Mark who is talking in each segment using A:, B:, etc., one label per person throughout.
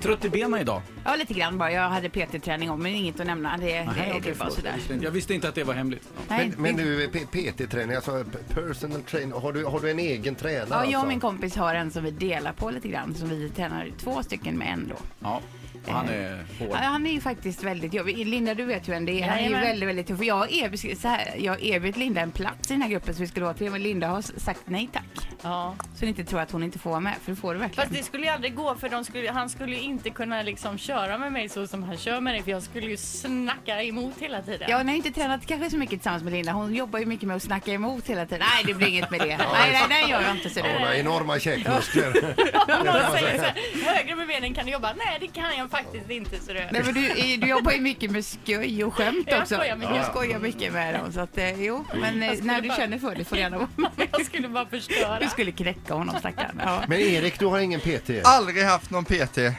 A: Trött i benen idag?
B: Ja, lite grann bara. Jag hade PT-träning om, men inget att nämna. Det, det,
A: Nej,
B: det,
A: okej,
B: är bara
A: förlåt.
B: sådär.
A: Jag visste inte- Jag visste inte att det var hemligt.
B: Nej,
C: Men, men du, P- PT-träning, alltså p- personal training, har du, har du en egen tränare?
B: ja, jag och
C: alltså?
B: min kompis har en som vi delar på lite grann. Som vi tränar två stycken med en då.
A: Ja, och han är hård.
B: Ja, han är ju faktiskt väldigt jobbig. Linda, du vet ju vem det är. Han är ju
D: Jajamän.
B: väldigt, väldigt tuff. Jag erbjöd, så här, jag erbjöd Linda en plats i den här gruppen som vi skulle åt. Men Linda har s- sagt nej tack.
D: Ja.
B: Så ni inte tror att hon inte får vara med, för det får du verkligen.
D: Fast det skulle ju aldrig gå för de skulle, han skulle ju inte kunna liksom köra med mig så som han kör med dig för jag skulle ju snacka emot hela tiden.
B: Ja, ni har inte tränat kanske så mycket tillsammans med Linda. Hon jobbar ju mycket med att snacka emot hela tiden. Nej, det blir inget med det. nej, nej, nej, gör jag inte. Så
C: Ja, Hon
B: det.
C: har enorma käkmuskler.
D: Om någon säger så här, högre med benen kan du jobba? Nej det kan jag faktiskt inte. Så det...
B: Nej, men du, är- du jobbar ju mycket med sköj och skämt
D: Jag
B: också.
D: skojar mycket.
B: Du skojar mycket med dem. Så att, eh, jo,
A: Mm.
B: men eh,
D: skulle
B: när du
D: bara-
B: känner för det får du gärna vara med.
D: Jag skulle bara
B: Du
D: förstöra.
B: skulle knäcka honom stackaren. Ja.
C: Men Erik, du har ingen PT?
E: Aldrig haft någon PT
C: Nej.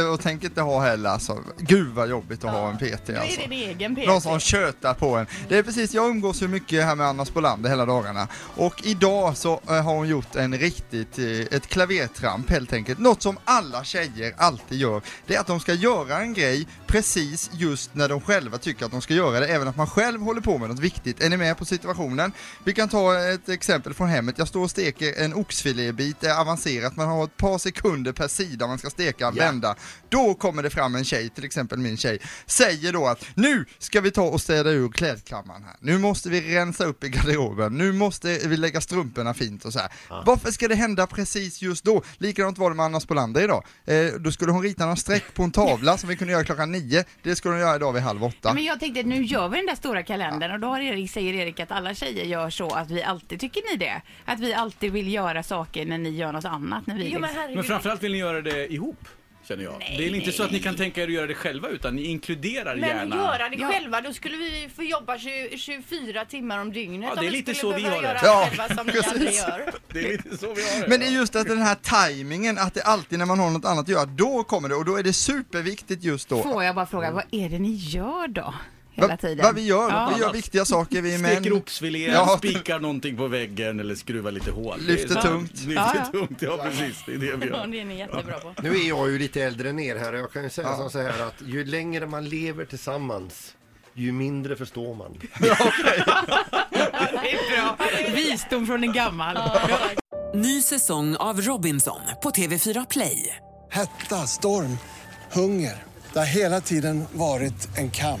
E: Eh, och tänker inte ha heller alltså. Gud vad jobbigt att ha en PT
D: Då är
E: alltså.
D: det din egen PT.
E: Någon som tjötar på en. Det är precis, jag umgås ju mycket här med Anna Spolander hela dagarna. Och idag så eh, har hon gjort en riktigt, eh, ett klavertramp helt enkelt. Något som alla tjejer alltid gör. Det är att de ska göra en grej precis just när de själva tycker att de ska göra det. Även att man själv håller på med något viktigt. Är ni med på situationen? Vi kan ta ett exempel från hemmet. Jag står och steker en oxfilébit. eh, Det är avancerat. Man har ett par sekunder per sida man ska steka, vända. Då kommer det fram en tjej, till exempel min tjej, säger då att nu ska vi ta och städa ur klädkammaren här. Nu måste vi rensa upp i garderoben. Nu måste vi lägga strumporna fint och så här. Varför ska det hända precis just då? Likadant var det med Anna Spolander idag. Eh, då skulle hon rita några streck på en tavla som vi kunde göra klockan nio. Det skulle hon göra idag vid halv åtta.
B: Men jag tänkte nu gör vi den där stora kalendern och då har Erik, säger Erik att alla tjejer gör så att vi alltid, tycker ni det? Att vi alltid vill göra saker när ni gör något annat. När vi
D: Jo,
B: liksom-
D: men herregud.
A: Men framförallt vill ni göra det ihop, känner jag. det är inte så att ni kan tänka er att göra det själva, utan ni inkluderar
D: Men
A: gärna.
D: göra det
B: Ja.
D: själva, då skulle vi få jobba 20, 24 timmar om dygnet
A: Ja,
D: om
A: det är lite
D: skulle
A: så vi
D: behöva
A: har det.
D: göra
E: Ja,
D: själva som ni
E: precis.
D: aldrig gör.
A: Det är lite så vi har det.
E: Men det är just att den här tajmingen, att det alltid när man har något annat att göra, då kommer det och då är det superviktigt just då.
B: Får jag bara fråga, vad är det ni gör då? Hela
E: Va-
B: tiden.
E: Vad vi gör,
B: Ja.
E: vi gör viktiga saker, vi är män.
A: Steker oxfilé,
E: Ja.
A: spikar någonting på väggen eller skruvar lite hål.
E: Lyfter
A: Det är så-
E: tungt.
A: Lyfter
B: Ja, ja.
A: tungt, ja precis. Det är det vi
D: Ja,
A: gör.
D: det är ni jättebra på.
C: Nu är jag ju lite äldre än er här och jag kan ju säga som så här att ju längre man lever tillsammans ju mindre förstår man.
B: Visdom från en gammal.
F: Ny säsong av Robinson på TV4 Play.
G: Hetta, storm, hunger. Det har hela tiden varit en kamp.